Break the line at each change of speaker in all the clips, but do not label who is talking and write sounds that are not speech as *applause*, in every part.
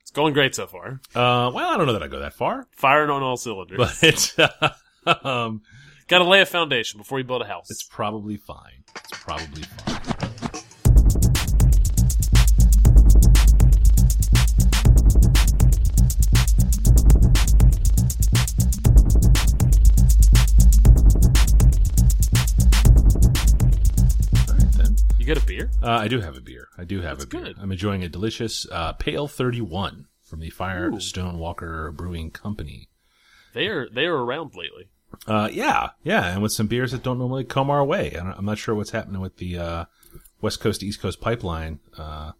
It's going great so far.
Uh, well, I don't know that I go that far, *laughs*
Firing on all cylinders.
but um,
Got to lay a foundation before you build a house.
it's probably fine. It's probably fine. All right then.
you got a beer?
Uh, I do have a beer. I do have a beer.
good.
I'm enjoying a delicious uh, Pale 31 from the Firestone Walker Brewing Company.
They are they are around lately.
Uh, yeah, yeah, and with some beers that don't normally come our way. I don't, I'm not sure what's happening with the uh, West Coast to East Coast pipeline uh,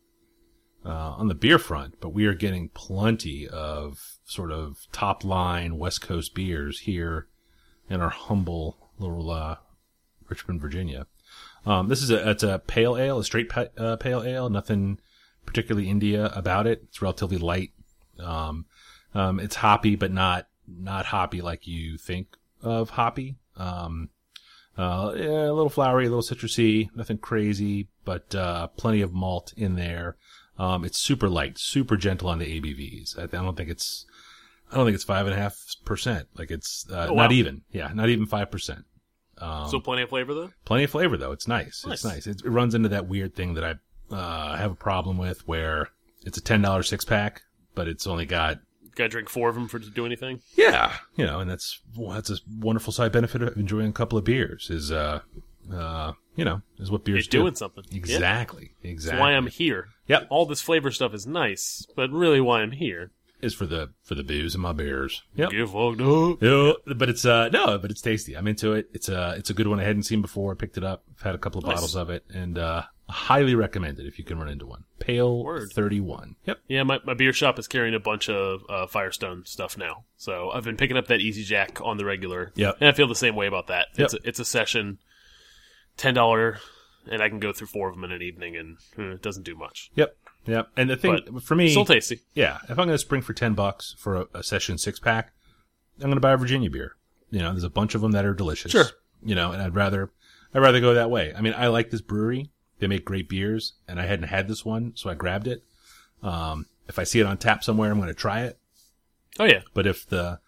uh, on the beer front, but we are getting plenty of sort of top line West Coast beers here in our humble little uh, Richmond, Virginia. Um, this is a it's a pale ale, a straight pa- uh, pale ale. Nothing particularly India about it. It's relatively light. Um, um, it's hoppy, but not not hoppy like you think of hoppy. Um, uh, yeah, a little flowery, a little citrusy, nothing crazy, but uh, plenty of malt in there. Um, it's super light, super gentle on the ABVs. I, I don't think it's, I don't think it's five and a half percent. Like it's uh,
Oh, wow.
not even, yeah, not even five percent. Um,
so plenty of flavor though.
plenty of flavor though. It's nice.
Nice.
It's nice. It, it runs into that weird thing that I uh, have a problem with, where it's a ten dollar six pack, but it's only got
Got to drink four of them for to do anything.
yeah, you know, and that's well, that's a wonderful side benefit of enjoying a couple of beers is uh uh you know is what beers
You're doing something.
do.
Yeah.
exactly
That's
exactly
why I'm here.
Yep.
All this flavor stuff is nice, but really why I'm here.
is for the for the booze and my beers. Yep.
Give fucked up.
Yeah, but it's uh no, but it's tasty. I'm into it. It's uh it's a good one I hadn't seen before. I picked it up. I've had a couple of
Nice.
bottles of it, and uh highly recommend it if you can run into one. Pale
Word.
31. Yep.
Yeah, my, my beer shop is carrying a bunch of uh, Firestone stuff now. So I've been picking up that Easy Jack on the regular.
Yep.
And I feel the same way about that.
Yep.
It's, a, it's a session, $10, and I can go through four of them in an evening, and hmm, it doesn't do much.
Yep. Yep. And the thing for me,
Still tasty.
yeah, if I'm going to spring for 10 bucks for a, a session six pack, I'm going to buy a Virginia beer. You know, there's a bunch of them that are delicious.
Sure.
You know, and I'd rather, I'd rather go that way. I mean, I like this brewery. They make great beers and I hadn't had this one, so I grabbed it. Um, if I see it on tap somewhere, I'm going to try it.
Oh, yeah.
But if the,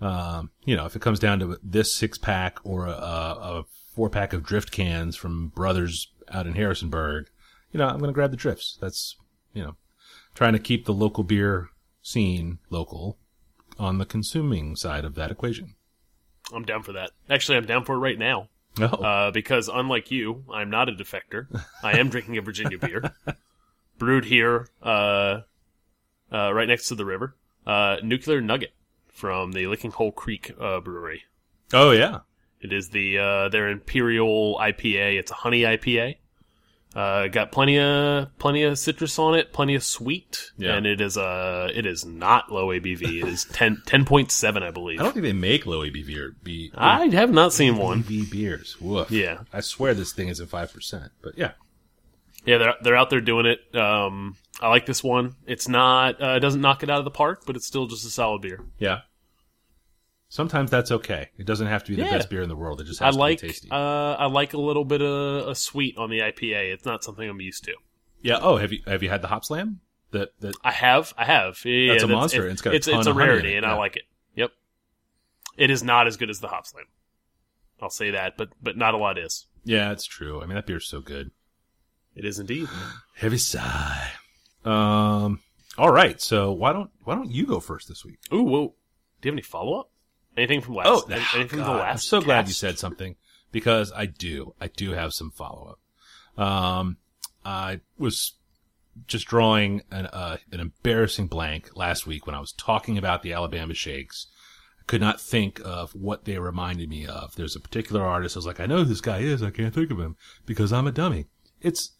um, you know, if it comes down to this six pack or a, a four pack of drift cans from Brothers out in Harrisonburg, you know, I'm going to grab the drifts. That's, you know, trying to keep the local beer scene local on the consuming side of that equation.
I'm down for that. Actually, I'm down for it right now.
Oh,
Uh, because unlike you, I'm not a defector. I am drinking a Virginia *laughs* beer, brewed here, uh, uh, right next to the river. Uh, Nuclear Nugget from the Licking Hole Creek uh, Brewery.
oh yeah.
It is the uh, their Imperial IPA. It's a honey IPA. Uh, got plenty of plenty of citrus on it, plenty of sweet,
Yeah.
and it is uh it is not low ABV. It is 10 10.7, I believe.
I don't think they make low ABV beer. Be,
I have not seen one.
ABV beers. Woof.
Yeah.
I swear this thing is at 5%, but yeah.
Yeah, they're they're out there doing it. Um, I like this one. It's not uh, it doesn't knock it out of the park, but it's still just a solid beer.
Yeah. Sometimes that's okay. It doesn't have to be the
Yeah.
best beer in the world. It just
I
has to
like
be tasty.
uh, I like a little bit of a sweet on the IPA. It's not something I'm used to.
yeah. Oh, have you have you had the Hop Slam? That that
I have, I have. Yeah,
That's a monster.
it-
It's got a ton
it's a
of honey in
rarity,
it,
and
yeah.
I like it. Yep. It is not as good as the Hop Slam. I'll say that, but but not a lot is.
yeah, it's true. I mean, that beer's so good.
It is indeed.
Heavy sigh. Um. All right. So why don't why don't you go first this week?
Ooh, whoa. Do you have any follow up? Anything from last? any- Oh, anything from the
Oh, God,
last?
I'm so glad you
cast?
said something because I do. I do have some follow up. Um, I was just drawing an uh, an embarrassing blank last week when I was talking about the Alabama Shakes. I could not think of what they reminded me of. There's a particular artist. I was like, I know who this guy is. I can't think of him because I'm a dummy. It's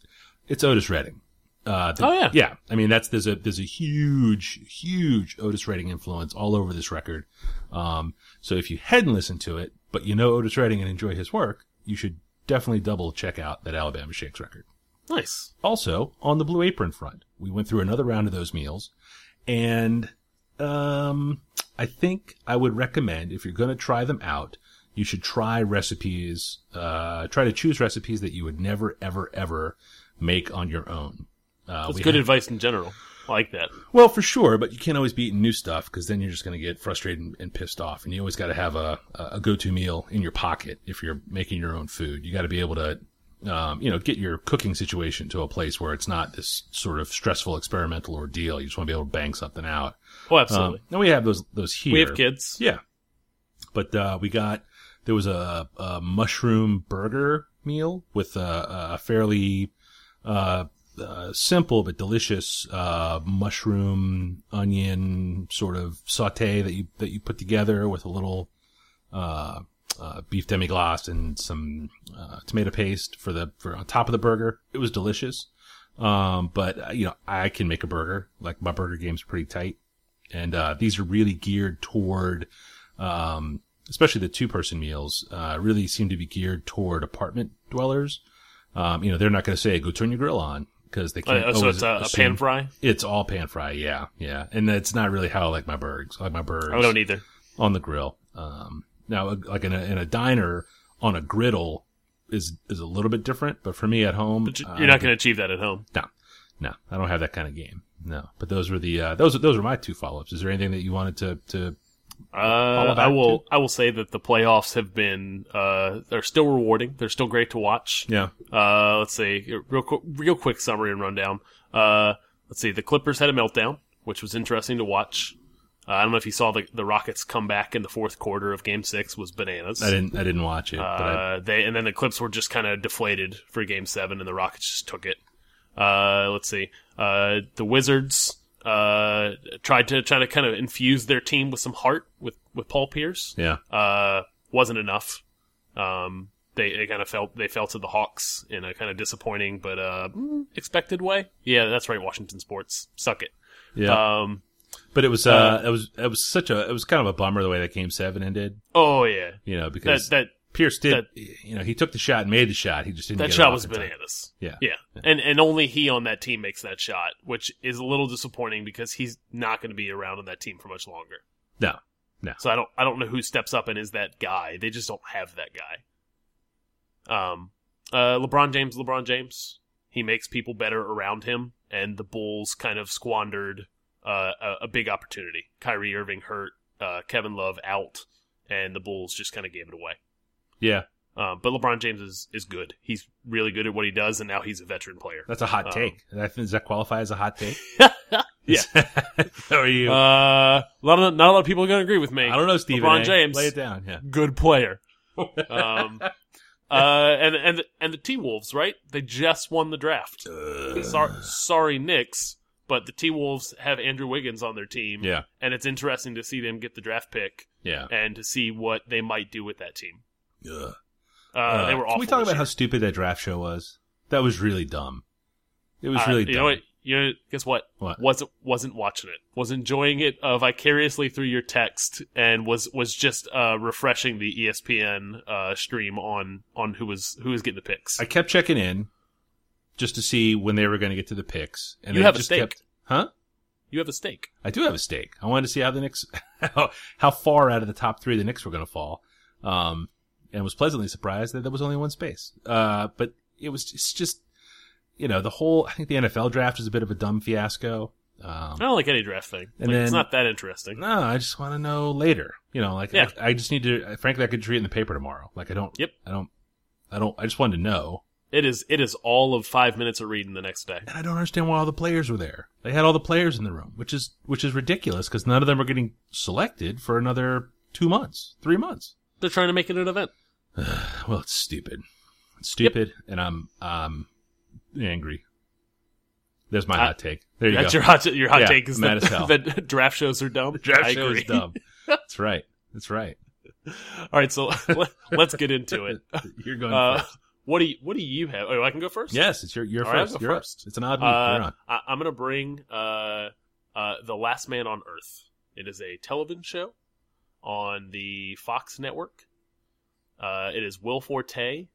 it's Otis Redding. Uh, the-
Oh, yeah.
yeah. I mean, that's there's a there's a huge, huge Otis Redding influence all over this record. Um, so if you hadn't listened to it, but you know Otis Redding and enjoy his work, you should definitely double check out that Alabama Shakes record.
Nice.
Also, on the Blue Apron front, we went through another round of those meals, and um, I think I would recommend if you're going to try them out, you should try recipes. Uh, try to choose recipes that you would never, ever, ever make on your own. Uh,
That's
we
good advice in general. I like that.
Well, for sure, but you can't always be eating new stuff because then you're just going to get frustrated and, and pissed off. And you always got to have a, a a go-to meal in your pocket if you're making your own food. You got to be able to, um, you know, get your cooking situation to a place where it's not this sort of stressful experimental ordeal. You just want to be able to bang something out.
Oh,
Um,
absolutely.
and we have those those here.
we have kids.
Yeah, but uh, we got there was a, a mushroom burger meal with a, a fairly uh, uh, simple but delicious uh, mushroom onion sort of saute that you that you put together with a little uh, uh, beef demi glace and some uh, tomato paste for the for on top of the burger. It was delicious. Um, but uh, you know, I can make a burger. Like my burger game's pretty tight, and uh, these are really geared toward, um, especially the two-person meals. Uh, really seem to be geared toward apartment dwellers. Um, you know, they're not going to say go turn your grill on because they can't.
Uh, so
always
it's a, a
assume-
pan fry.
It's all pan fry. Yeah, yeah, and that's not really how I like my burgers. I like my burgers
I don't either.
on the grill. Um, now, like in a, in a diner on a griddle is is a little bit different, but for me at home, uh,
But you- you're not going to achieve that at home.
No, no, I don't have that kind of game. No, but those were the uh, those those were my two follow ups. Is there anything that you wanted to to?
Uh,
about
I will. I will say that the playoffs have been. Uh, they're still rewarding. They're still great to watch.
Yeah,
Uh, let's see. Real quick, real quick summary and rundown. Uh, let's see. The Clippers had a meltdown, which was interesting to watch. Uh, I don't know if you saw the the Rockets come back in the fourth quarter of Game Six was bananas.
I didn't I didn't watch it, but I,
Uh, they and then the clips were just kind of deflated for Game Seven, and the Rockets just took it. Uh, let's see. Uh, the Wizards uh, tried to try to kind of infuse their team with some heart with with Paul Pierce.
yeah,
Uh, wasn't enough. Um, they, they kind of fell they fell to the Hawks in a kind of disappointing but uh, expected way. Yeah, that's right. Washington sports suck it.
yeah.
Um,
but it was uh, it was it was such a it was kind of a bummer the way that game seven ended.
oh yeah,
You know
that
because
that
Pierce did
that-
you know he took the shot and made the shot. He just didn't.
That
get it
shot
off
was
in time.
bananas.
Yeah.
yeah, and and only he on that team makes that shot, which is a little disappointing because he's not going to be around on that team for much longer.
No, no.
So I don't I don't know who steps up and is that guy. They just don't have that guy. Um, uh, LeBron James, LeBron James, he makes people better around him, and the Bulls kind of squandered uh, a, a big opportunity. Kyrie Irving hurt, uh, Kevin Love out, and the Bulls just kind of gave it away.
Yeah,
Um, but LeBron James is, is good. He's really good at what he does, and now he's a veteran player.
that's a hot
Um,
take. I think does that qualify as a hot take?
*laughs*
*laughs*
Yeah.
How are you?
Uh, a lot of, not a lot of people are going to agree with me.
I don't know, Stephen.
LeBron
A.
James.
Lay it down. Yeah.
Good player. um, *laughs* uh, and and and the T Wolves, right? They just won the draft. *laughs*
Uh,
Sorry, sorry, Knicks, but the T Wolves have Andrew Wiggins on their team,
Yeah.
and it's interesting to see them get the draft pick
Yeah.
and to see what they might do with that team.
Ugh.
Uh, they were
Can
awful.
we talk
this
about how
year.
stupid that draft show was? That was really dumb. It was
Uh,
really
you
dumb.
know what? You know, guess what?
What?
wasn't wasn't watching it was enjoying it uh, vicariously through your text and was was just uh, refreshing the espn uh, stream on on who was who was getting the picks
I kept checking in just to see when they were going to get to the picks, and
You
they
have a
just
stake.
kept, huh?
you have a stake
I do have a stake. I wanted to see how the Knicks, *laughs* how, how far out of the top three the Knicks were going to fall, um, and was pleasantly surprised that there was only one space. Uh, but it was it's just, you know, the whole. I think the NFL draft is a bit of a dumb fiasco. Um,
i don't like any draft thing
And
Like, it's
then-
not that interesting
No, I just want to know later. You know, like
Yeah.
I, I just need to. Frankly, I could just read it in the paper tomorrow. Like I don't.
Yep.
I don't. I don't. I just wanted to know,
it is it is all of five minutes of reading the next day
and I don't understand why all the players were there. They had all the players in the room, which is which is ridiculous because none of them are getting selected for another two months, three months.
they're trying to make it an event
Well, it's stupid. It's stupid, and I'm um angry. There's my
I-
hot take. There you
that's
go.
your hot your hot
Yeah,
take is
mad
that,
as
*laughs*
hell.
that draft shows are dumb
draft
I
show *laughs*
agree.
is dumb. That's right. That's right.
*laughs* all right so *laughs* let, let's get into
*laughs*
it
You're going.
uh,
first.
what do you what do you have oh i can go first
Yes, it's your you're
All right, I'll
first.
go
You're up.
first.
It's an odd week.
Uh,
you're on.
I, I'm gonna bring uh, uh, the Last Man on Earth. It is a television show on the Fox network. Uh, it is Will Forte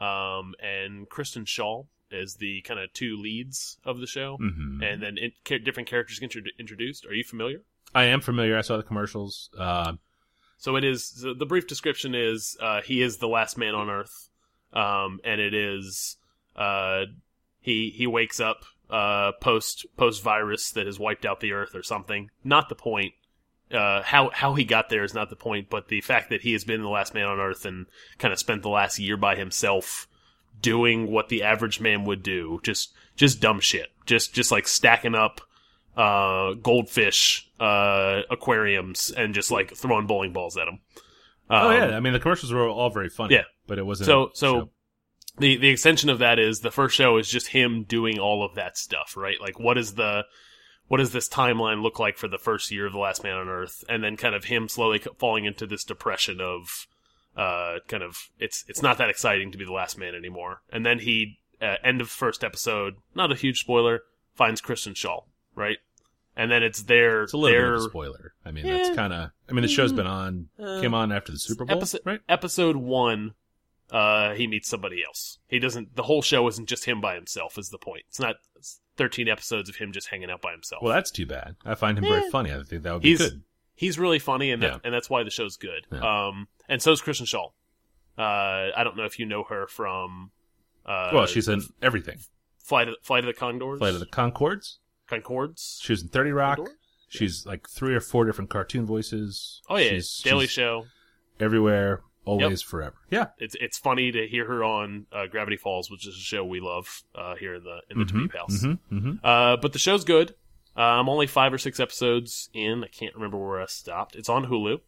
um, and Kristen Shaw as the kind of two leads of the show,
Mm-hmm.
and then in, ca different characters get introdu- introduced. Are you familiar?
I am familiar. I saw the commercials. Uh,
So it is. So the brief description is uh, he is the last man on Earth, um, and it is uh, he he wakes up uh, post post virus that has wiped out the earth or something. Not the point. Uh, how how he got there is not the point, but the fact that he has been the last man on earth and kind of spent the last year by himself doing what the average man would do, just just dumb shit, just just like stacking up uh, goldfish uh, aquariums and just like throwing bowling balls at them.
oh yeah, I mean the commercials were all very funny.
Um, yeah.
but it wasn't
So
a
so
show.
the the extension of that is the first show is just him doing all of that stuff, right? Like what is the what does this timeline look like for the first year of the last man on earth and then kind of him slowly c- falling into this depression of uh kind of it's it's not that exciting to be the last man anymore. And then he uh, end of first episode, not a huge spoiler, finds Christian Shaw, right? And then it's their
It's a little
their
bit of a spoiler. I mean,
Yeah. Mm-hmm.
that's kind of. I mean, the show's been on, came on after the Super Bowl,
episode-
right?
episode one, uh, he meets somebody else. He doesn't. The whole show isn't just him by himself. Is the point? It's not thirteen episodes of him just hanging out by himself.
Well, that's too bad. I find him very funny. I think that would be
he's
good.
he's really funny, and that,
Yeah.
and that's why the show's good.
Yeah.
Um, and so is Kristen Shaw. Uh, I don't know if you know her from. Uh,
well, she's in everything.
Flight of, Flight of the Condors.
Flight of the Concords.
Concords.
She was in Thirty Rock.
Condor?
She's like three or four different cartoon voices.
Oh yeah,
she's,
Daily
she's
Show.
everywhere, always, forever. Yeah,
It's it's funny to hear her on uh, Gravity Falls, which is a show we love uh, here in the in the Tweep House.
hmm hmm
Uh, but the show's good. Uh, I'm only five or six episodes in. I can't remember where I stopped. It's on Hulu.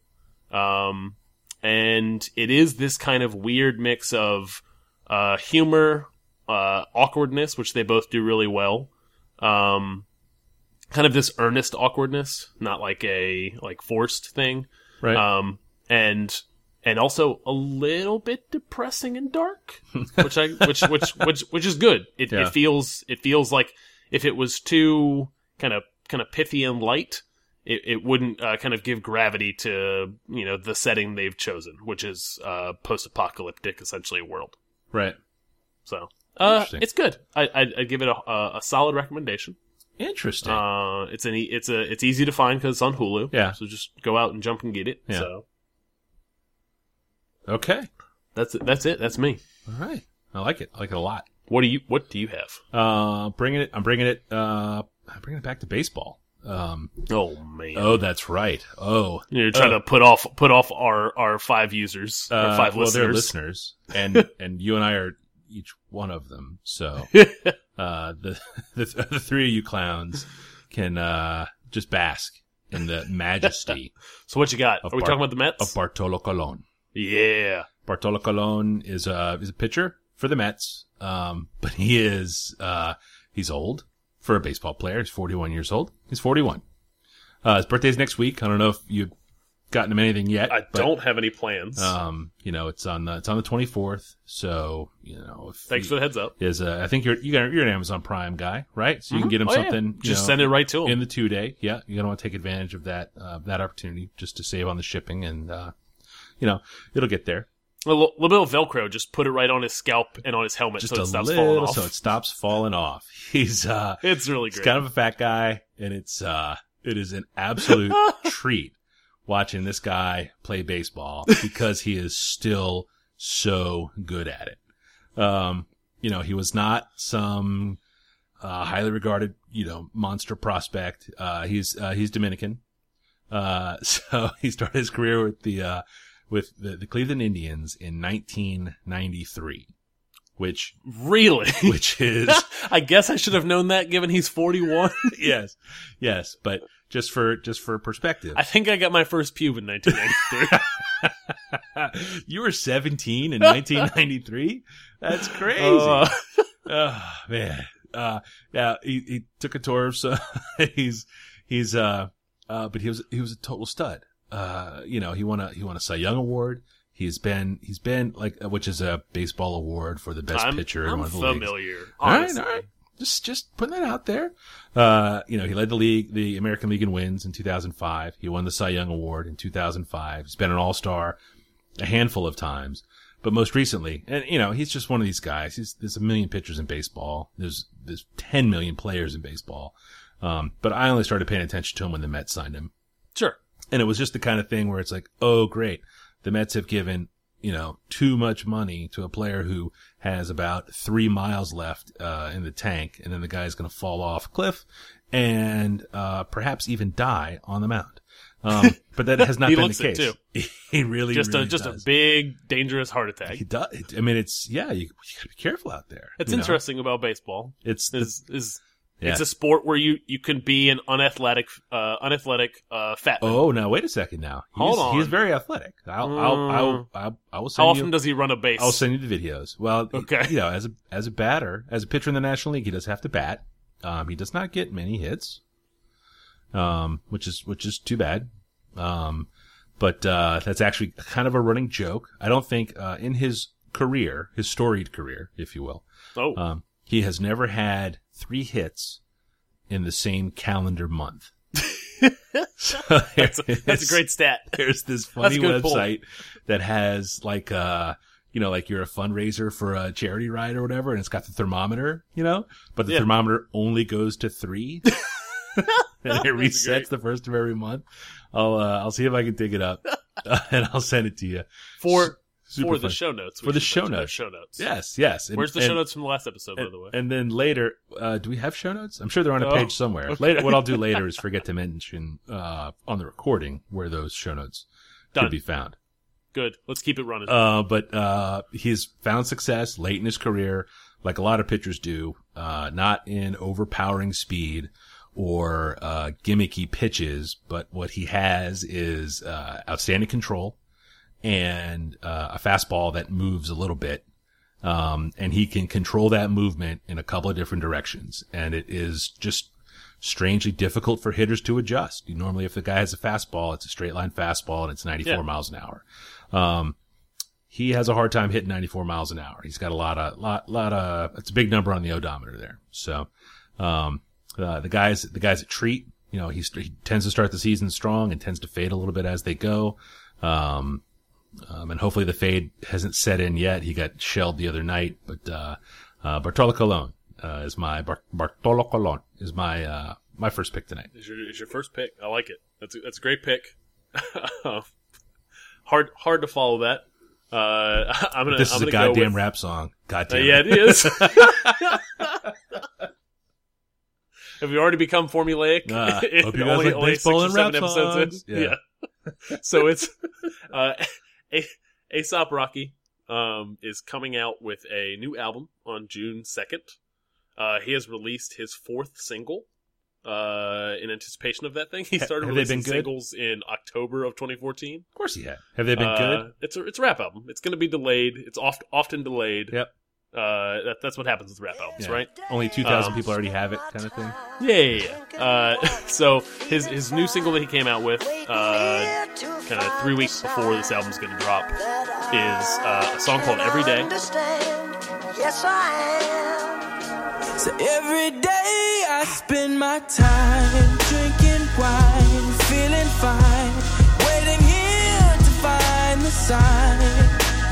Um, and it is this kind of weird mix of uh, humor, uh, awkwardness, which they both do really well. Um, kind of this earnest awkwardness, not like a like forced thing.
Right.
Um, and and also a little bit depressing and
*laughs*
dark, which I which which which which is good. It,
Yeah.
it feels it feels like if it was too kind of kind of pithy and light, it, it wouldn't uh, kind of give gravity to you know the setting they've chosen, which is uh, post apocalyptic essentially world.
right.
So uh,
Interesting.
it's good. I, I'd, I'd give it a, a, a solid recommendation.
Interesting.
Uh, it's an e it's a it's easy to find because it's on Hulu.
Yeah.
so just go out and jump and get it.
Yeah.
So
okay.
that's it. That's it. That's me.
All right. I like it. I like it a lot.
What do you What do you have?
Uh, bringing it. I'm bringing it. Uh, I'm bringing it back to baseball. Um.
Oh man,
Oh, that's right. Oh,
you're trying to put off put off our our five users, our
uh,
five
well, they're
listeners.
listeners,
*laughs*
and and you and I are each one of them. So uh, the, *laughs* the the three of you clowns can uh, just bask in the majesty
*laughs* So what you got? Are
Of
we
Bar-
talking about the Mets?
of Bartolo Colon.
yeah,
Bartolo Colon is a is a pitcher for the Mets, um, but he is uh, he's old for a baseball player. He's 41 years old. He's 41. Uh, his birthday's next week. I don't know if you've gotten him anything yet.
I
but,
don't have any plans.
Um, you know, it's on the it's on the 24th. So you know, if
Thanks for the heads up.
is uh, I think you're you got, you're an Amazon Prime guy, right? So you can get him
Oh, yeah.
something. you
Just
know,
send it right to him.
in the two day. Yeah, you don't want to take advantage of that uh, that opportunity just to save on the shipping and uh, you know it'll get there.
a little, little bit of Velcro. Just put it right on his scalp and on his helmet
Just
so
a
it stops falling
little,
off.
so it stops falling off. *laughs* He's uh,
it's really
he's
great.
kind of a fat guy, and it's uh, it is an absolute treat watching this guy play baseball because he is still so good at it. Um, you know, he was not some uh, highly regarded, you know, monster prospect. Uh, he's uh, he's Dominican, uh, *laughs* so he started his career with the uh, with the, the Cleveland Indians in 1993, which *laughs*
really. *laughs*
which is
I guess I should have known that, given he's 41.
*laughs* yes, yes, but just for just for perspective,
*laughs*
*laughs*
I think I got my first pube in 1993.
you were 17 in 1993. *laughs*
*laughs*
That's crazy.
Uh,
oh man. Uh, yeah, he, he took a tour of so *laughs* he's he's uh uh but he was he was a total stud. Uh, you know, he won a he won a Cy Young award. He's been he's been like which is a baseball award for the best
I'm,
pitcher in
I'm
one of the leagues.
familiar.
All right,
honestly.
all right. Just just putting that out there. Uh, you know, he led the league, the American League in wins in 2005. He won the Cy Young Award in 2005. He's been an All-Star a handful of times, but most recently, and you know, he's just one of these guys. He's, there's a million pitchers in baseball. There's there's 10 million players in baseball. Um, but I only started paying attention to him when the Mets signed him.
Sure.
And it was just the kind of thing where it's like, oh, great. The Mets have given, you know, too much money to a player who has about three miles left, uh, in the tank. And then the guy's going to fall off a cliff and, uh, perhaps even die on the mound. Um,
*laughs*
but that has not
He
been
looks
the
it,
case. *laughs* He really,
Just
really
a just
does.
a big dangerous heart attack.
He does. I mean, it's yeah. You, you gotta be careful out there.
That's
you know?
interesting about baseball.
It's the-
Is is
Yeah.
it's a sport where you you can be an unathletic uh unathletic uh fat man.
oh now wait a second now. He's,
Hold on. Mm.
he's very athletic. I'll I'll, I'll, I'll I will
How
send
often
you.
does he run a base?
I'll send you the videos. Well,
Okay.
You know, as a as a batter, as a pitcher in the National League, he does have to bat. Um, he does not get many hits. Um, which is which is too bad. Um, but uh, that's actually kind of a running joke. I don't think uh, in his career, his storied career, if you will,
oh,
Um, he has never had three hits in the same
*laughs*
calendar month. so
*laughs*
*laughs*
that's, a, that's a great stat.
There's this funny
a good pull.
website that has like uh you know like you're a fundraiser for a charity ride or whatever, and it's got the thermometer, you know, but the
Yeah.
thermometer only goes
*laughs*
to three. *laughs* and it resets
great.
the first of every month. I'll uh, I'll see if I can dig
*laughs*
it up, *laughs* uh, and I'll send it to you.
For
Super
for the
fun.
show notes. we
For the
should
show
mention
notes.
Show notes.
Yes, yes. And-
Where's the show
and-
notes from the last episode, by
and,
the way?
and then later, uh, do we have show notes? I'm sure they're on a
Oh,
page somewhere.
okay.
Later, what
*laughs*
I'll do later is forget to mention uh, on the recording where those show notes
Done.
could be found.
Good. Let's keep it running.
Uh, but uh, he's found success late in his career, like a lot of pitchers do, uh, not in overpowering speed or uh, gimmicky pitches, but what he has is uh, outstanding control and uh, a fastball that moves a little bit. Um, and he can control that movement in a couple of different directions. And it is just strangely difficult for hitters to adjust. You normally, if the guy has a fastball, it's a straight line fastball and it's 94
Yeah.
miles an hour. Um, he has a hard time hitting 94 miles an hour. He's got a lot of, lot, lot of, it's a big number on the odometer there. So, um, uh, the guys, the guys a treat, you know, he's, he tends to start the season strong and tends to fade a little bit as they go. Um, um, and hopefully the fade hasn't set in yet. He got shelled the other night, but, uh, uh, Bartolo Colon, uh, is my, Bar- Bartolo Colon is my, uh, my first pick tonight.
Is your, is your first pick? I like it. That's a, that's a great pick. *laughs* hard hard to follow that. Uh, *laughs* I'm gonna.
This
I'm
is
gonna
a
go
goddamn
with-
rap song.
Uh,
Goddamn.
yeah,
it.
it is. Uh,
*laughs*
*laughs* Have we already become formulaic?
Ah,
*laughs*
hope you guys
only,
like
only
baseball
six
and
or seven
rap
episodes in.
songs.
Yeah. *laughs* so it's uh, A- Aesop Rocky um, is coming out with a new album on June second. Uh, he has released his fourth single uh, in anticipation of that thing. He
Ha-
started
have they
releasing
been good?
singles in October of 2014.
Of course he had. Have they been
Uh,
good?
It's a it's a rap album. It's going to be delayed. It's oft, often delayed.
Yep.
Uh, that, that's what happens with rap albums,
Yeah.
right?
Only 2,000 people already have it kind of thing.
Um, Yeah, yeah, yeah. Uh, *laughs* so his his new single that he came out with, uh, kind of three weeks before this album's going to
*sighs*
drop, is uh, a song called "Every Day."
Yes, I
So every day I spend my time drinking wine, feeling fine, waiting here to find the sign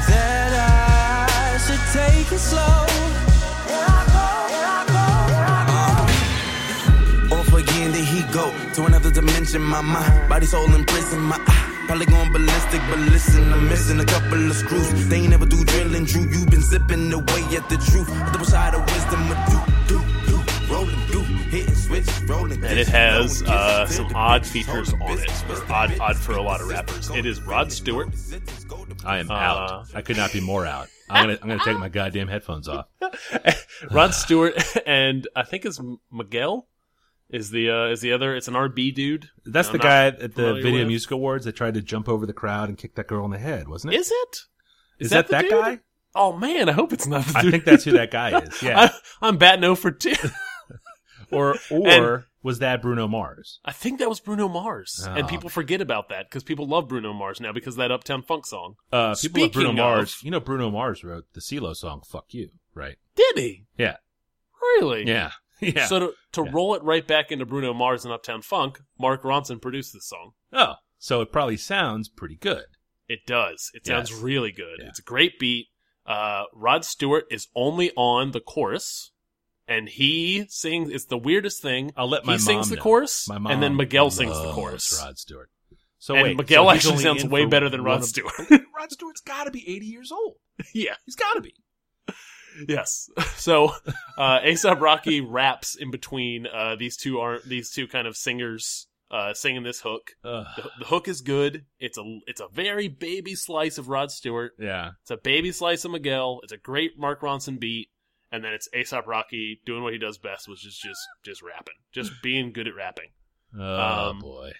that I should take it slow.
am. Here I go, here I go, here I go.
Off again, there he go to another dimension. My mind, body, soul in prison. My eye, probably going ballistic. But listen, I'm missing a couple of screws. They ain't never do drilling, Drew. You've been zipping away at the truth. A double side of wisdom, a do, do, do, rolling, do, hitting switch, rolling.
and it has uh, some odd features on it, or odd odd for a lot of rappers. It is Rod Stewart.
I am
Uh,
out. I could not be more out. I'm gonna I'm gonna take my goddamn
*laughs*
headphones off.
Rod Stewart *laughs* and I think it's Miguel is the uh, is the other. It's an RB dude.
That's
I'm
the
not
guy at the
familiar
Video
with.
Music Awards that tried to jump over the crowd and kick that girl in the head, wasn't it?
Is it?
Is
that
that
the
that,
dude?
guy?
Oh man, I hope it's not. the
I
dude.
think that's who that guy is. Yeah.
*laughs* I, am batting 0 for
*laughs*
two.
or or
And-
was that Bruno Mars?
I think that was Bruno Mars, and
Oh.
people forget about that because people love Bruno Mars now because of that Uptown Funk song.
Uh, people like Bruno
Speaking
Mars.
of-
You know Bruno Mars wrote the CeeLo song "Fuck You," right?
Did he?
Yeah.
Really?
Yeah. *laughs* Yeah.
So to, to
Yeah.
roll it right back into Bruno Mars and Uptown Funk, Mark Ronson produced this song.
oh, so it probably sounds pretty good.
It does. It sounds
Yes.
really good.
Yeah.
It's a great beat. Uh, Rod Stewart is only on the chorus, and he sings. It's the weirdest thing.
I'll let my
he
mom
sings the
know.
chorus,
My mom
and then Miguel sings the
loves
chorus.
Rod Stewart. So
and
wait,
Miguel
so he's
actually
only
sounds
in
way
for
better than
one
Rod
of-
Stewart.
*laughs*
*laughs*
Rod Stewart's got to be 80 years old.
yeah.
He's got to be.
Yes. *laughs* So uh, Aesop Rocky raps in between uh, these two are these two kind of singers uh, singing this hook. The, the hook is good. It's a it's a very baby slice of Rod Stewart.
yeah.
It's a baby slice of Miguel. It's a great Mark Ronson beat, and then it's Aesop Rocky doing what he does best, which is just just rapping, just being good at rapping.
Oh
Um,
boy.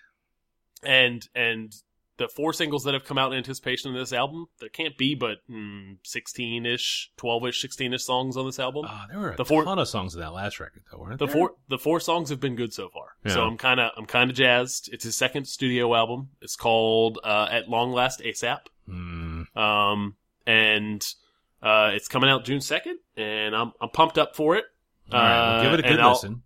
And and the four singles that have come out in anticipation of this album, there can't be but mm, sixteen ish, twelve ish, sixteen ish songs on this album.
Oh, there were a
the four-
ton of songs in that last record, though, weren't
the
there?
four the four songs have been good so far. So
Yeah.
I'm kind of I'm kind of jazzed. It's his second studio album. It's called uh, At Long Last ASAP.
Hmm.
Um, and uh, it's coming out June second, and I'm I'm pumped up for it.
All right, well, give it
Uh,
a
and
good
I'll-
listen.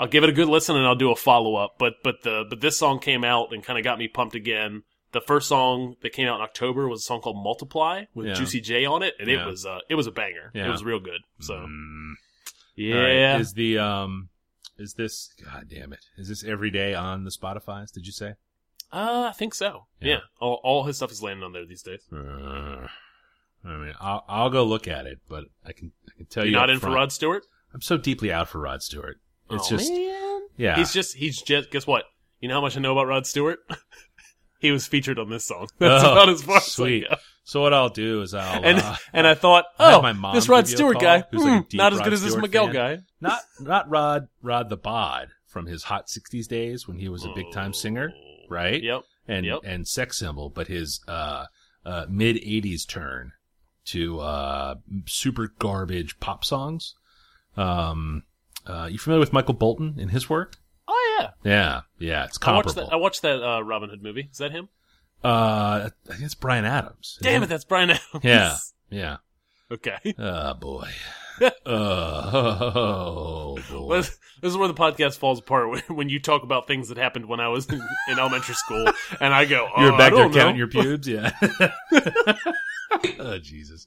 I'll give it a good listen, and I'll do a follow up. But but the but this song came out and kind of got me pumped again. The first song that came out in October was a song called "Multiply" with
Yeah.
Juicy J on it, and it
Yeah.
was uh it was a banger.
Yeah.
It was real good. So
Mm. All right,
yeah,
Is the um is this god damn it. Is this every day on the Spotify's, did you say?
uh, I think so.
Yeah.
Yeah, All, all his stuff is landing on there these days.
Uh, I mean, I'll, I'll go look at it, but I can I can tell
You're
you
not
up
in for
front,
Rod Stewart.
I'm so deeply out for Rod Stewart. It's
Oh,
just
man.
yeah.
He's just he's just guess what? You know how much I know about Rod Stewart? *laughs* he was featured on this song. *laughs* That's
Oh,
about as far
sweet.
as I go.
so what I'll do is I'll
And
uh,
and I thought,
I had
oh,
my mom
this Rod
give you a
Stewart
call,
guy,
who's like a
hmm,
deep
not as
Rod
good as this
Stewart
Miguel
fan.
guy.
not not Rod Rod the Bod from his hot 60s days when he was a big time singer, right?
Oh. Yep.
and
Yep.
and sex symbol, but his uh, uh, mid '80s turn to uh, super garbage pop songs. Um, uh, you familiar with Michael Bolton and his work?
Oh yeah.
Yeah, yeah, it's
I watched
comparable.
that I watched that uh, Robin Hood movie. Is that him?
uh, I think it's Brian Adams. isn't
Damn it, that's Brian Adams.
Yeah, yeah.
*laughs* Okay.
Oh boy. *laughs* oh boy.
Well, this this is where the podcast falls apart when, when you talk about things that happened when I was in, in elementary school, and I go,
you were
"Uh,
back
I
there
don't know.
counting your pubes, yeah. *laughs* oh Jesus.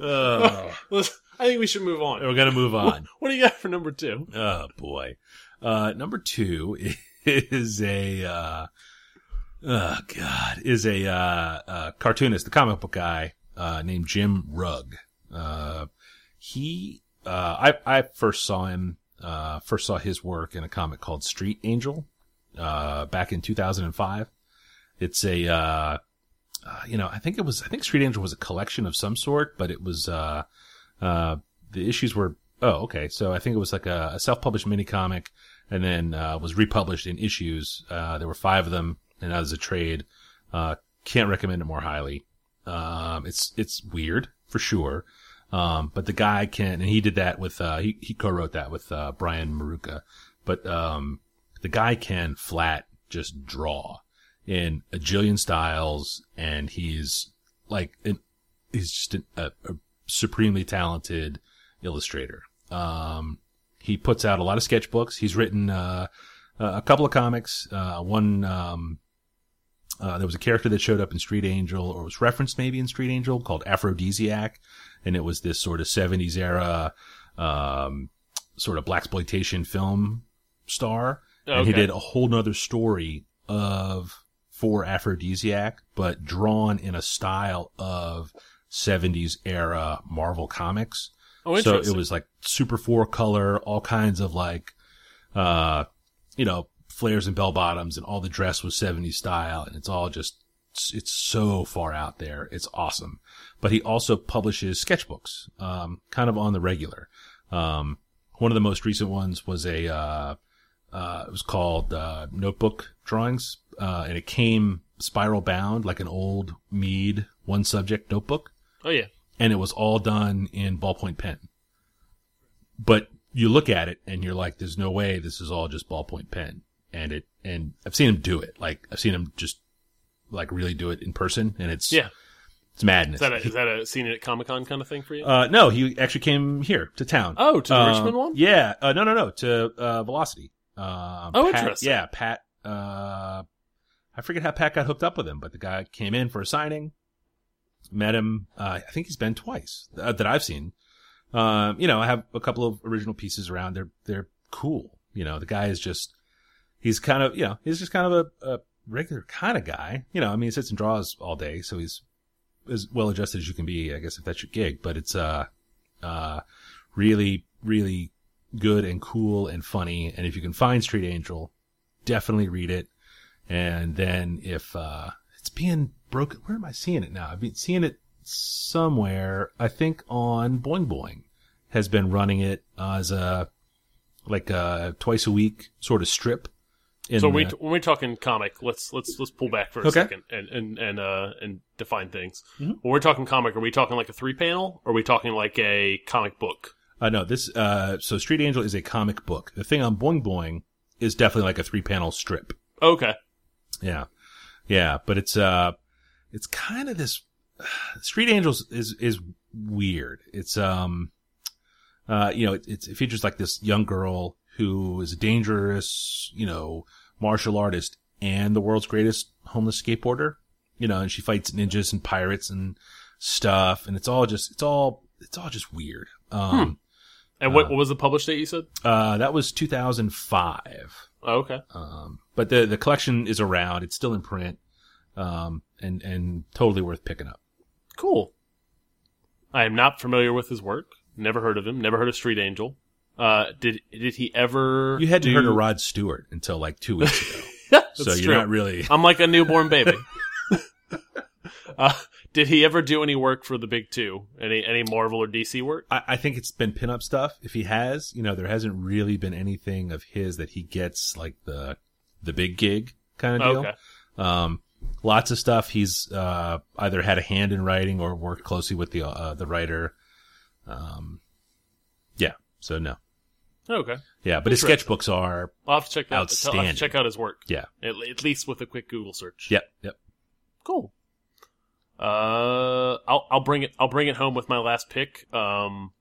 Oh,
Listen, I think we should move on.
we're gonna move on.
What do you got for number two?
Oh boy. Uh, number two *laughs* is a, uh, oh god, is a, uh, uh, cartoonist, the comic book guy, uh, named Jim Rugg. Uh, he, uh, I, I first saw him, uh, first saw his work in a comic called Street Angel, uh, back in 2005. It's a, uh, uh, you know, I think it was, I think Street Angel was a collection of some sort, but it was, uh, uh, the issues were oh okay so i think it was like a, a self-published mini comic and then uh, was republished in issues uh, there were five of them and that was a trade uh, can't recommend it more highly um, it's it's weird for sure um, but the guy can and he did that with uh, he, he co-wrote that with uh, brian maruka but um, the guy can flat just draw in a jillion styles and he's like an he's just an, a, a supremely talented illustrator. Um, he puts out a lot of sketchbooks. He's written uh, a couple of comics. Uh, one um, uh, there was a character that showed up in Street Angel, or was referenced maybe in Street Angel, called Aphrodisiac, and it was this sort of '70s era um, sort of black exploitation film star. And he
Okay.
did a whole nother story of for Aphrodisiac, but drawn in a style of 70s era Marvel comics.
Oh,
so
interesting.
it was like super four color, all kinds of like, uh, you know, flares and bell bottoms and all the dress was 70s style. And it's all just, it's so far out there. It's awesome. But he also publishes sketchbooks, um, kind of on the regular. Um, one of the most recent ones was a, uh, uh, it was called uh, Notebook Drawings, uh, and it came spiral bound like an old Mead one subject notebook,
oh yeah.
and it was all done in ballpoint pen. But you look at it and you're like, "There's no way this is all just ballpoint pen." And it and I've seen him do it. Like I've seen him just like really do it in person, and it's
Yeah.
it's madness.
Is that a, is that a seen it at Comic Con kind of thing for you?
Uh, no, he actually came here to town.
Oh, to the
Um,
Richmond one?
Yeah. Uh, no, no, no, to uh, Velocity. Uh,
Oh,
Pat-
interesting.
Yeah, Pat. Uh, I forget how Pat got hooked up with him, but the guy came in for a signing, met him. Uh, I think he's been twice uh, that I've seen. Um, you know, I have a couple of original pieces around. They're they're cool. You know, the guy is just he's kind of you know he's just kind of a, a regular kind of guy. You know, I mean, he sits and draws all day, so he's as well adjusted as you can be, I guess, if that's your gig. But it's uh, uh, really, really good and cool and funny. And if you can find Street Angel, definitely read it. And then if uh, it's being broken, where am I seeing it now? I've been seeing it somewhere. I think on Boing Boing has been running it as a like a twice a week sort of strip. In
So when,
the-
we, when we're talking comic, let's let's let's pull back for a
Okay. Mm-hmm.
second and and and uh, and define things. When we're talking comic, are we talking like a three panel? Or are we talking like a comic book?
Uh, no, this, uh, so Street Angel is a comic book. The thing on Boing Boing is definitely like a three panel strip.
Okay,
Yeah. Yeah. But it's, uh, it's kind of this, *sighs* Street Angels is, is weird. It's, um, uh, you know, it, it's, it features like this young girl who is a dangerous, you know, martial artist and the world's greatest homeless skateboarder, you know, and she fights ninjas and pirates and stuff. And it's all just, it's all, it's all just weird. Um,
and what, what was the published date you said?
uh, that was 2005.
Oh, okay,
Um, but the the collection is around. It's still in print, um, and and totally worth picking up.
cool. I am not familiar with his work. Never heard of him. Never heard of Street Angel. Uh, did did he ever?
You hadn't
do- *laughs*
heard of Rod Stewart until like two weeks ago,
That's
so you're
true.
not really.
I'm like a newborn baby. uh, did he ever do any work for the big two? Any any Marvel or DC work?
I, I think it's been pinup stuff. If he has, you know, there hasn't really been anything of his that he gets like the the big gig kind of deal.
Okay.
Um, lots of stuff he's uh, either had a hand in writing or worked closely with the uh, the writer. Um, yeah. So no.
Okay.
Yeah, but his
Interesting.
sketchbooks are
I'll have to check out. I'll have
Outstanding.
to check out his work.
yeah,
At, at least with a quick Google search.
yep, yep.
Cool. Uh, I'll I'll bring it I'll bring it home with my last pick. Um,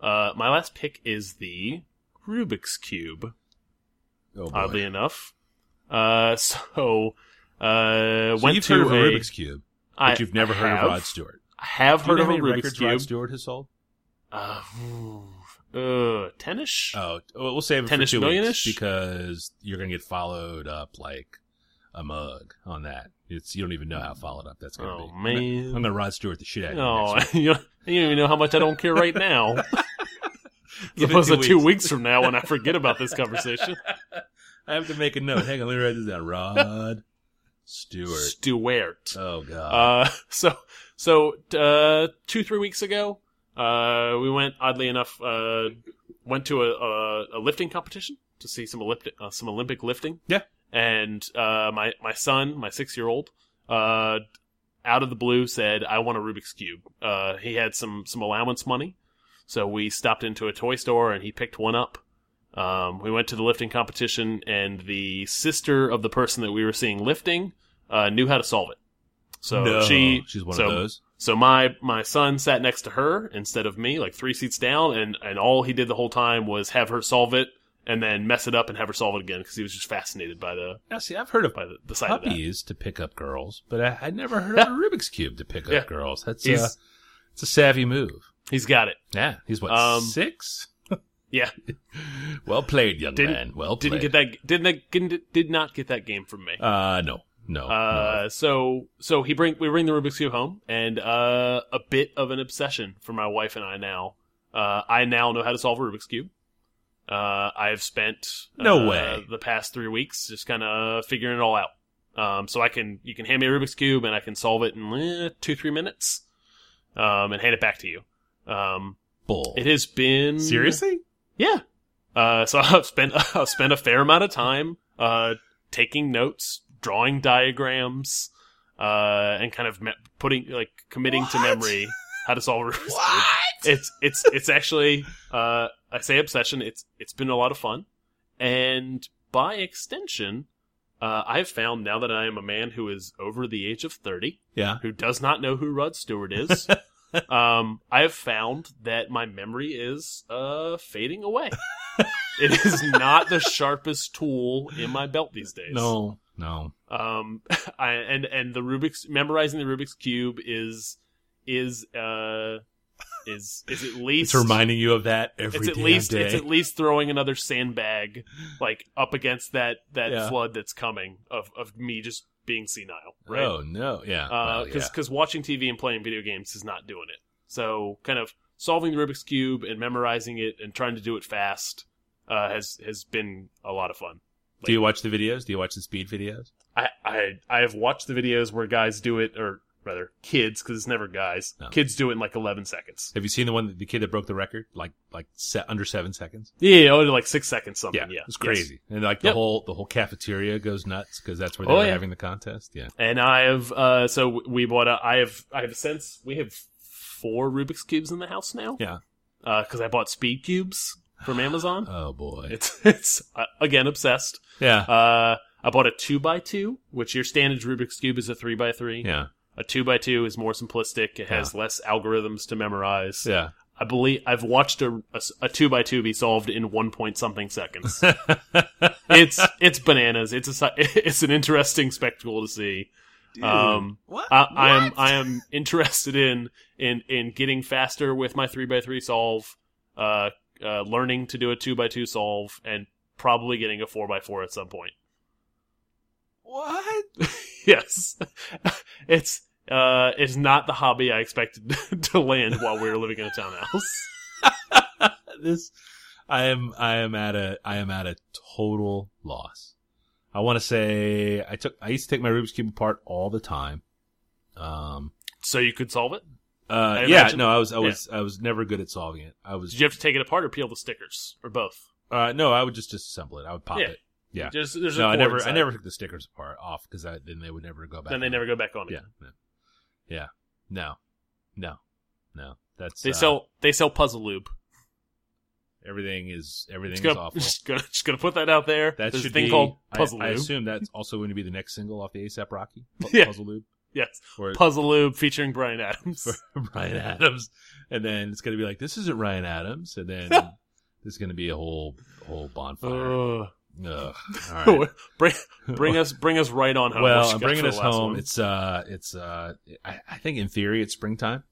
uh, my last pick is the Rubik's cube.
Oh, boy.
Oddly enough. Uh, so uh,
So
went
you've
to
heard of a
a,
Rubik's cube, but
I
you've never heard
have.
of Rod Stewart.
I have
Do
heard
you
of
know
a
how many
Rubik's
records
cube.
Rod Stewart has sold?
Uh, uh, tenish.
Oh, well, we'll save it for
10-ish
two
million-ish?
weeks because you're gonna get followed up like a mug on that. It's you don't even know how followed up that's gonna
Oh,
be.
man.
I'm gonna Rod Stewart the shit out of you.
oh,
next
*laughs*
week.
you, don't, you don't even know how much I don't care right
*laughs*
now. *laughs* As
Give it
opposed
two
to two
weeks.
weeks from now when I forget about this conversation.
*laughs* I have to make a note. Hang on, let me write this down. Rod Stewart.
Stewart.
Oh god.
Uh, *laughs* so, so uh, two three weeks ago, uh, we went oddly enough, uh, went to a, a, a lifting competition to see some Olympic uh, some Olympic lifting.
Yeah.
and uh, my my son, my six year old, uh, out of the blue said, "I want a Rubik's cube." Uh, he had some some allowance money, so we stopped into a toy store and he picked one up. Um, we went to the lifting competition, and the sister of the person that we were seeing lifting uh, knew how to solve it. So
No,
she
she's one
so-
of those.
So my my son sat next to her instead of me, like three seats down, and and all he did the whole time was have her solve it and then mess it up and have her solve it again because he was just fascinated by the
Now, see, I've heard of
by the, the sight of that.
puppies to pick up girls, but I had never
*laughs*
heard of a Rubik's cube to pick up
Yeah.
girls. That's
He's
uh, it's a savvy move.
he's got it.
Yeah, he's what
Um,
six?
Yeah,
Well played, young
Didn't-
man. Well played.
didn't get that didn't that, didn't- did not get that game from me.
Uh, no, no. no.
Uh, so so he bring we bring the Rubik's cube home, and uh, a bit of an obsession for my wife and I now. Uh, I now know how to solve a Rubik's cube. Uh, I've spent
No
uh,
way.
the past three weeks just kind of figuring it all out. Um, so I can you can hand me a Rubik's cube and I can solve it in eh, two three minutes, um, and hand it back to you. Um,
Bull.
it has been
Seriously?
yeah. Uh, so *laughs* I've spent I've spent a fair amount of time uh, taking notes, drawing diagrams, uh, and kind of me putting like committing to
What?
memory how to solve a Rubik's cube. It's it's it's actually uh, I say obsession. It's it's been a lot of fun, and by extension, uh, I've found now that I am a man who is over the age of thirty,
Yeah.
who does not know who Rod Stewart
*laughs*
is, um, I have found that my memory is uh, fading
*laughs*
away. it is not the sharpest tool in my belt these days.
No, no.
Um, *laughs* I, and and the Rubik's memorizing the Rubik's cube is is uh is is at least
*laughs* It's reminding you of that every
it's at
damn
least
day.
it's at least throwing another sandbag like up against that that
Yeah.
flood that's coming of of me just being senile, right?
Oh no, yeah,
because
well, yeah.
because Uh, watching TV and playing video games is not doing it. So kind of solving the Rubik's cube and memorizing it and trying to do it fast uh, has has been a lot of fun.
do you watch the videos? Do you watch the speed videos?
I I I have watched the videos where guys do it, or rather kids, because it's never guys.
No.
Kids do it in like 11 seconds.
Have you seen the one that the kid that broke the record, like like se- under seven seconds?
Yeah, oh, like six seconds something. Yeah,
it's
Yes.
crazy, and like the
Yep.
whole the whole cafeteria goes nuts because that's where they
Oh,
were
yeah.
having the contest. Yeah,
And I have uh, so w- we bought a. I have I have since we have four Rubik's cubes in the house now.
yeah.
because I bought speed cubes
*sighs*
from Amazon.
Oh boy,
It's *laughs* it's uh, again obsessed.
yeah,
*laughs* Uh, I bought a two by two, which your standard Rubik's cube is a three by three.
yeah,
A two by two is more simplistic. It has less algorithms to memorize. *laughs*
yeah. *laughs*
I believe I've watched a, a s- a two by two be solved in one point something seconds. *laughs* it's it's bananas. It's a *laughs* si- it's an interesting spectacle to see. um,
what?
I, I am I am interested in in in getting faster with my three by three solve, uh, uh, learning to do a two by two solve, and probably getting a four by four at some point. *laughs*
What?
Yes, *laughs* it's uh, it's not the hobby I expected *laughs* to land while we were living in a townhouse.
*laughs* this I am I am at a I am at a total loss. I want to say I took I used to take my Rubik's cube apart all the time. Um
So you could solve it.
uh
I
yeah,
imagine-
no, I was I was I was never good at solving it. I
Did
was
you have to take it apart or peel the stickers or both?
uh no, I would just disassemble it. I would pop
Yeah.
it. Yeah.
Just, there's a
No, I
core
never I
inside.
never took the stickers apart off cuz then they would never go back.
Then they
on.
never go back on it.
Yeah. no. Yeah. No. No. No. That's
They
uh,
sell they sell Puzzle Lube.
everything is
Just
everything is
gonna, *laughs*
awful.
just gonna just gonna put that out there.
That
There's
should
a thing
be,
called
I-
Puzzle
I,
Lube.
assume that's also going to be the next single off the ASAP Rocky Pu-
*laughs* Yeah.
Puzzle Lube
Yes,
or
Puzzle Lube featuring Brian Adams.
*laughs* Ryan Adams, and then it's going to be like this isn't Ryan Adams, and
*laughs*
then there's going to be a whole whole bonfire.
Ugh.
Ugh.
*laughs*
All right.
bring bring us bring us right on home. What
Well,
you
I'm
got
bringing
for the
us
last
home.
one?
It's uh, it's uh, I, I think in theory it's springtime,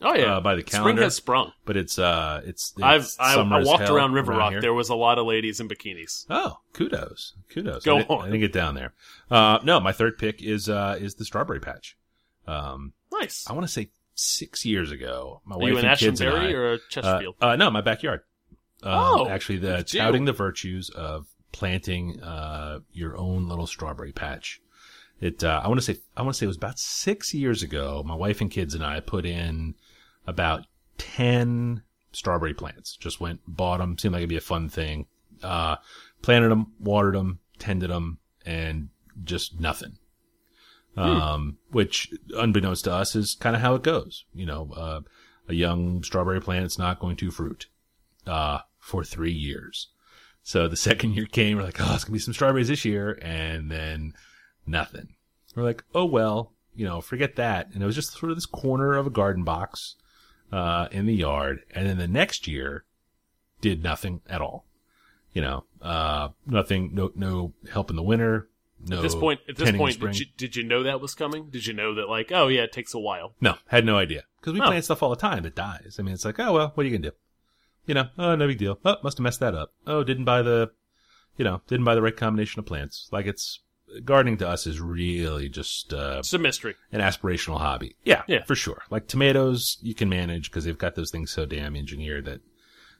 oh yeah,
uh, by the
spring
calendar.
has sprung.
but it's uh, it's, it's
I've I,
summer
I
as
walked
hell
around River Rock.
here.
There was a lot of ladies in bikinis.
Oh, kudos, kudos.
Go
I didn't,
on.
I didn't get down there. Uh, no, my third pick is uh, is the strawberry patch. Um,
Nice.
I want to say six years ago. My
Are
wife
you an
and kids
Ashland
and I,
Berry or a
uh,
Chesterfield?
uh, no, my backyard. Um,
Oh,
actually,
look
the
at you.
touting the virtues of planting uh, your own little strawberry patch. It. Uh, I want to say. I want to say it was about six years ago. My wife and kids and I put in about ten strawberry plants. Just went bought them. Seemed like it'd be a fun thing. Uh, planted them, watered them, tended them, and just nothing um, which unbeknownst to us is kind of how it goes. You know, uh, a young strawberry plant's not going to fruit, uh, for three years. So the *laughs* second year came, we're like, oh, it's gonna be some strawberries this year. And then nothing. We're like, oh, well, you know, forget that. And it was just sort of this corner of a garden box, uh, in the yard. And then the next year did nothing at all. You know, uh, nothing, no, no help in the winter. No
at this point, at this
tending in
point,
spring.
did you, did you know that was coming? Did you know that like, oh yeah, it takes a while?
No, had no idea. Because we
Oh.
plant stuff all the time that dies. I mean, it's like, oh, well, what are you going to do? You know, oh, no big deal. Oh, must have messed that up. Oh, didn't buy the, you know, didn't buy the right combination of plants. Like it's, gardening to us is really just uh,
It's a mystery.
an aspirational hobby. Yeah,
Yeah. *laughs*
for sure. Like tomatoes, you can manage because they've got those things so damn engineered that,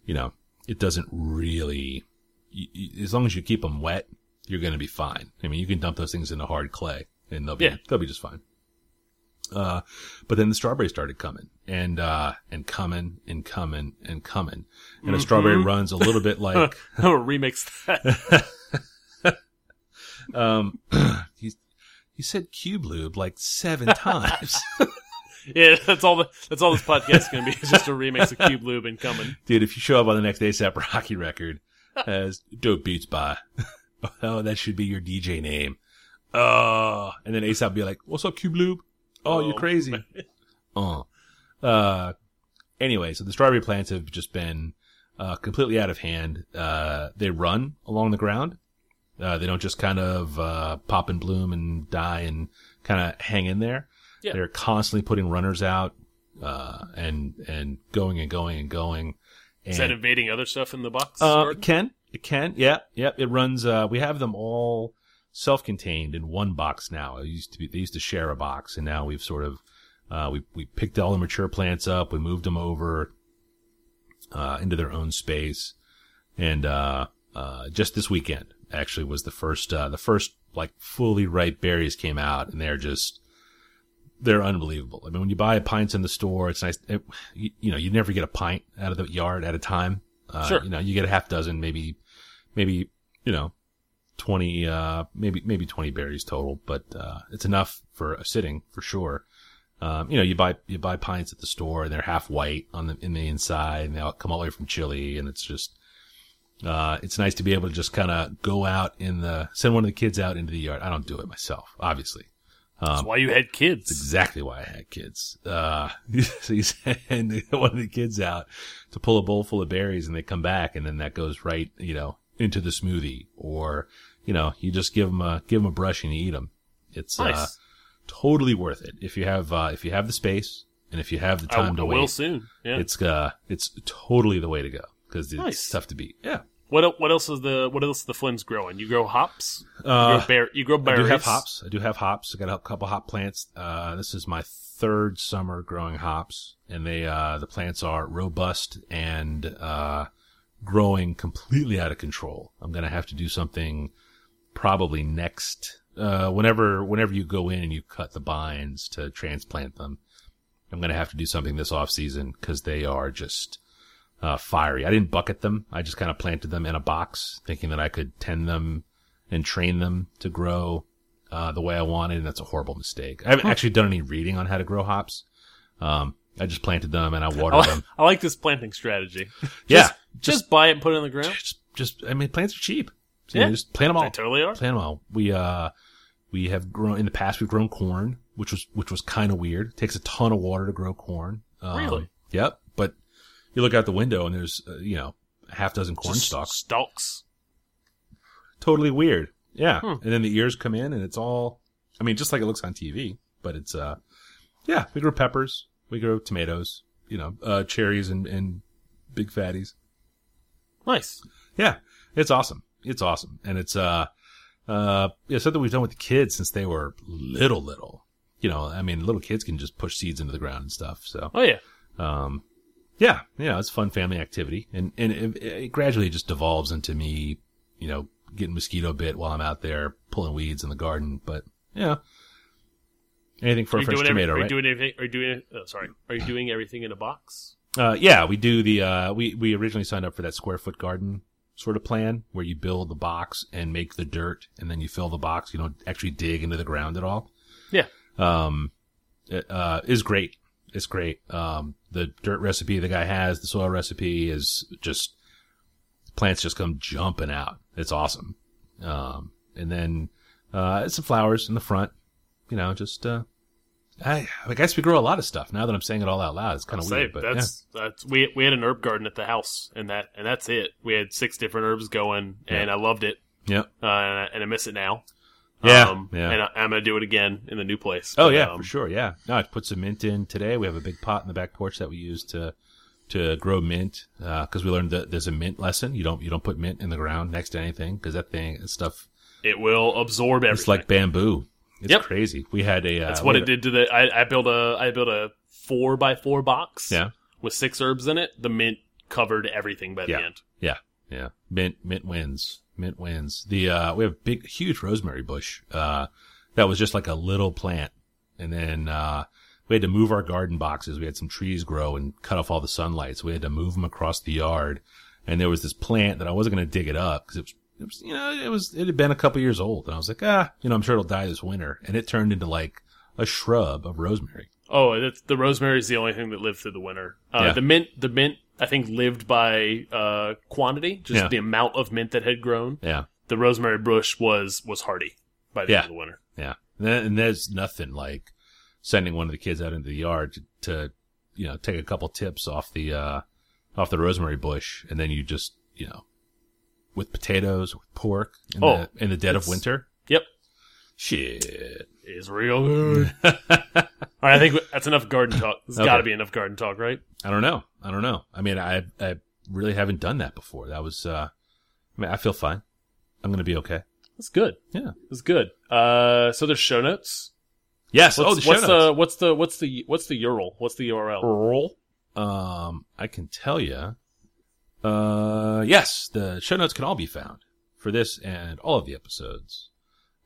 you know, it doesn't really, y y as long as you keep them wet, you're going to be fine. I mean, you can dump those things into hard clay and they'll be,
Yeah.
they'll be just fine. Uh, but then the strawberries started coming and, uh, and coming and coming and coming. And a
Mm-hmm.
strawberry runs a
*laughs*
little bit like,
I'm gonna remix that.
*laughs* um, *clears throat* he, he said cube lube like
*laughs*
seven times.
yeah, that's all. The, that's all this podcast is gonna be. It's just a remix of Cube Lube and
*laughs*
coming.
Dude, if you show up on the next ASAP Rocky record as Dope Beats by, *laughs* oh, that should be your DJ name. Oh, and then ASAP be like, "What's up, Cube Lube? Oh, you're
Oh,
crazy." Uh, uh, anyway, so the strawberry plants have just been uh, completely out of hand. Uh, they run along the ground. Uh, they don't just kind of uh, pop and bloom and die and kind of hang in there.
Yeah.
They're constantly putting runners out, uh, and and going and going and going. And,
Is that invading other stuff in the box?
Uh,
Gordon?
it can. It can. Yeah. Yep. It runs. Uh, we have them all self-contained in one box now. It used to be they used to share a box, and now we've sort of uh, we we picked all the mature plants up. We moved them over uh, into their own space, and uh, uh, just this weekend actually was the first uh, the first like fully ripe berries came out, and they're just they're unbelievable. I mean, when you buy pints in the store, it's nice. It, you, you know, you never get a pint out of the yard at a time. Uh,
Sure.
You know, you get a half dozen, maybe, maybe, you know, 20, uh, maybe, maybe 20 berries total, but, uh, it's enough for a sitting for sure. Um, you know, you buy, you buy pints at the store and they're half white on the, in the inside and they all come all the way from Chile and it's just, uh, it's nice to be able to just kind of go out in the, send one of the kids out into the yard. I don't do it myself, obviously. um,
That's why you had kids.
exactly why I had kids. Uh, *laughs* so you send *laughs* one of the kids out to pull a bowl full of berries and they come back and then that goes right, you know, into the smoothie or, you know, you just give them a, give them a brush and you eat them. It's, uh,
Nice.
totally worth it. If you have, uh, if you have the space and if you have the
I,
time
I
to
will
wait,
soon. Yeah.
it's, uh, it's totally the way to go because it's
Nice.
tough to beat. Yeah.
what el- what else is the what else is the Flims growing? You grow hops. you
Uh,
grow, bear, you grow
I
berries.
do have hops. I do have hops. I got a couple hop plants. Uh, this is my third summer growing hops, and they uh, the plants are robust and uh, growing completely out of control. I'm gonna have to do something probably next. Uh, whenever whenever you go in and you cut the binds to transplant them, I'm gonna have to do something this off season because they are just uh, fiery. I didn't bucket them. I just kind of planted them in a box, thinking that I could tend them and train them to grow uh, the way I wanted, and that's a horrible mistake. I haven't actually done any reading on how to grow hops. Um, I just planted them and I
*laughs* I,
watered
li-
them.
I like this planting strategy. Oh, *laughs* Just,
Um, *laughs* Yeah,
just, buy it and put it in the ground.
Just, just I mean, plants are cheap. So, you know,
Yeah.
just plant them all.
They totally are.
Plant them all. We uh, we have grown in the past. We've grown corn, which was which was kind of weird. It takes a ton of water to grow corn. Um,
Really?
Yep. But you look out the window and there's uh, you know a half dozen corn
Just
stalks.
Stalks.
totally weird. Yeah. And then the ears come in and it's all I mean, just like it looks on TV, but it's uh yeah, we grow peppers, we grow tomatoes, you know, uh cherries and, and big fatties.
Nice.
Yeah. It's awesome. It's awesome. And it's uh uh yeah, something we've done with the kids since they were little little. You know, I mean little kids can just push seeds into the ground and stuff, so
Oh yeah.
yeah, yeah, it's a fun family activity, and and it, it gradually just devolves into me, you know, getting mosquito bit while I'm out there pulling weeds in the garden. But yeah, anything for
Are
a
you
French
doing
tomato,
every-
right?
Are you doing everything? Are you doing? Oh, sorry. Are you doing everything in a box?
uh, yeah, we do the uh, we we originally signed up for that square foot garden sort of plan where you build the box and make the dirt, and then you fill the box. You don't actually dig into the ground at all. Um,
Yeah.
uh, is great. It's great. Um, the dirt recipe the guy has, the soil recipe is just plants just come jumping out. It's awesome. Um, and then uh, some flowers in the front. You know, just uh, I, I guess we grow a lot of stuff. Now that I'm saying it all out loud, it's kind of
Say,
weird. But yeah.
that's that's we we had an herb garden at the house, and that and that's it. We had six different herbs going, and I loved it,
yeah,
uh, and, I, and I miss it now.
yeah,
Um,
yeah.
And I, I'm gonna do it again in the new place.
Oh
But,
yeah,
um,
for sure. Yeah. No, I put some mint in today. We have a big pot in the back porch that we use to to grow mint because we learned that there's a mint lesson. You don't you don't put mint in the ground next to anything because that thing that stuff
It will absorb everything.
it's like bamboo. It's
Yep.
crazy. We had a uh,
That's what
we
it did
had
to the. I, I built a I built a four by four box.
a- Yeah,
With six herbs in it, the mint covered everything by the
Yeah.
end.
yeah, yeah. Mint mint wins. Mint wins. The uh, we have a big huge rosemary bush uh, that was just like a little plant, and then uh, we had to move our garden boxes. We had some trees grow and cut off all the sunlight, so we had to move them across the yard. And there was this plant that I wasn't going to dig it up because it was, it was, you know, it was, it had been a couple years old, and I was like, ah, you know, I'm sure it'll die this winter. And it turned into like a shrub of rosemary.
Oh, and it's, the rosemary is the only thing that lived through the winter. Uh,
Yeah.
The mint, the mint, I think lived by uh, quantity, just
Yeah.
the amount of mint that had grown.
Yeah.
The rosemary bush was was hardy by the
Yeah.
end of the winter.
Yeah, and, that- and there's nothing like sending one of the kids out into the yard to, to you know, take a couple tips off the uh, off the rosemary bush, and then you just you know, with potatoes, with pork, in,
Oh,
the, in the dead of
it's-
winter.
Yep,
Shit. *laughs*
is real good. All right, I think that's enough garden talk. It's
Okay.
got to be enough garden talk, right?
I don't know. I don't know. I mean, I I really haven't done that before. That was. Uh, I mean, I feel fine. I'm gonna be okay.
That's good.
Yeah.
That's good. Uh, so there's show notes.
Yes.
What's,
oh, the show
what's uh,
notes.
the what's the what's the what's the URL? What's the
*laughs*
URL?
Um, I can tell you. Uh, yes, the show notes can all be found for this and all of the episodes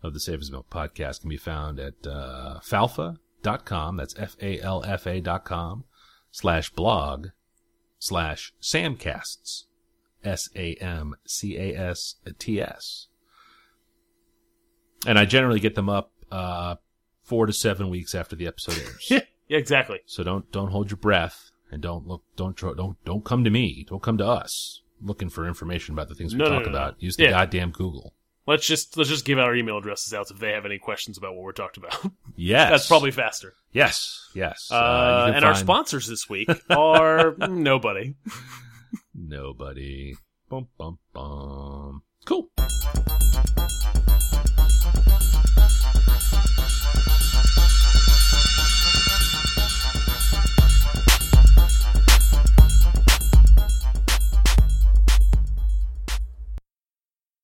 of the Save His Milk podcast can be found at uh, falfa.com. That's f a l f a dot com slash blog slash samcasts. S A M C A S T S. And I generally get them up uh, four to seven weeks after the episode airs.
yeah, exactly.
So don't don't hold your breath and don't look don't tro- don't don't come to me. Don't come to us looking for information about the things we
No, no,
talk
no, no.
about. Use the
Yeah.
goddamn Google.
Let's just let's just give our email addresses out if they have any questions about what we're talked about.
Yes,
That's probably faster.
yes, yes.
Uh, and
you can
our
find
sponsors this week
*laughs*
are nobody.
Nobody. Bum bum bum. Cool.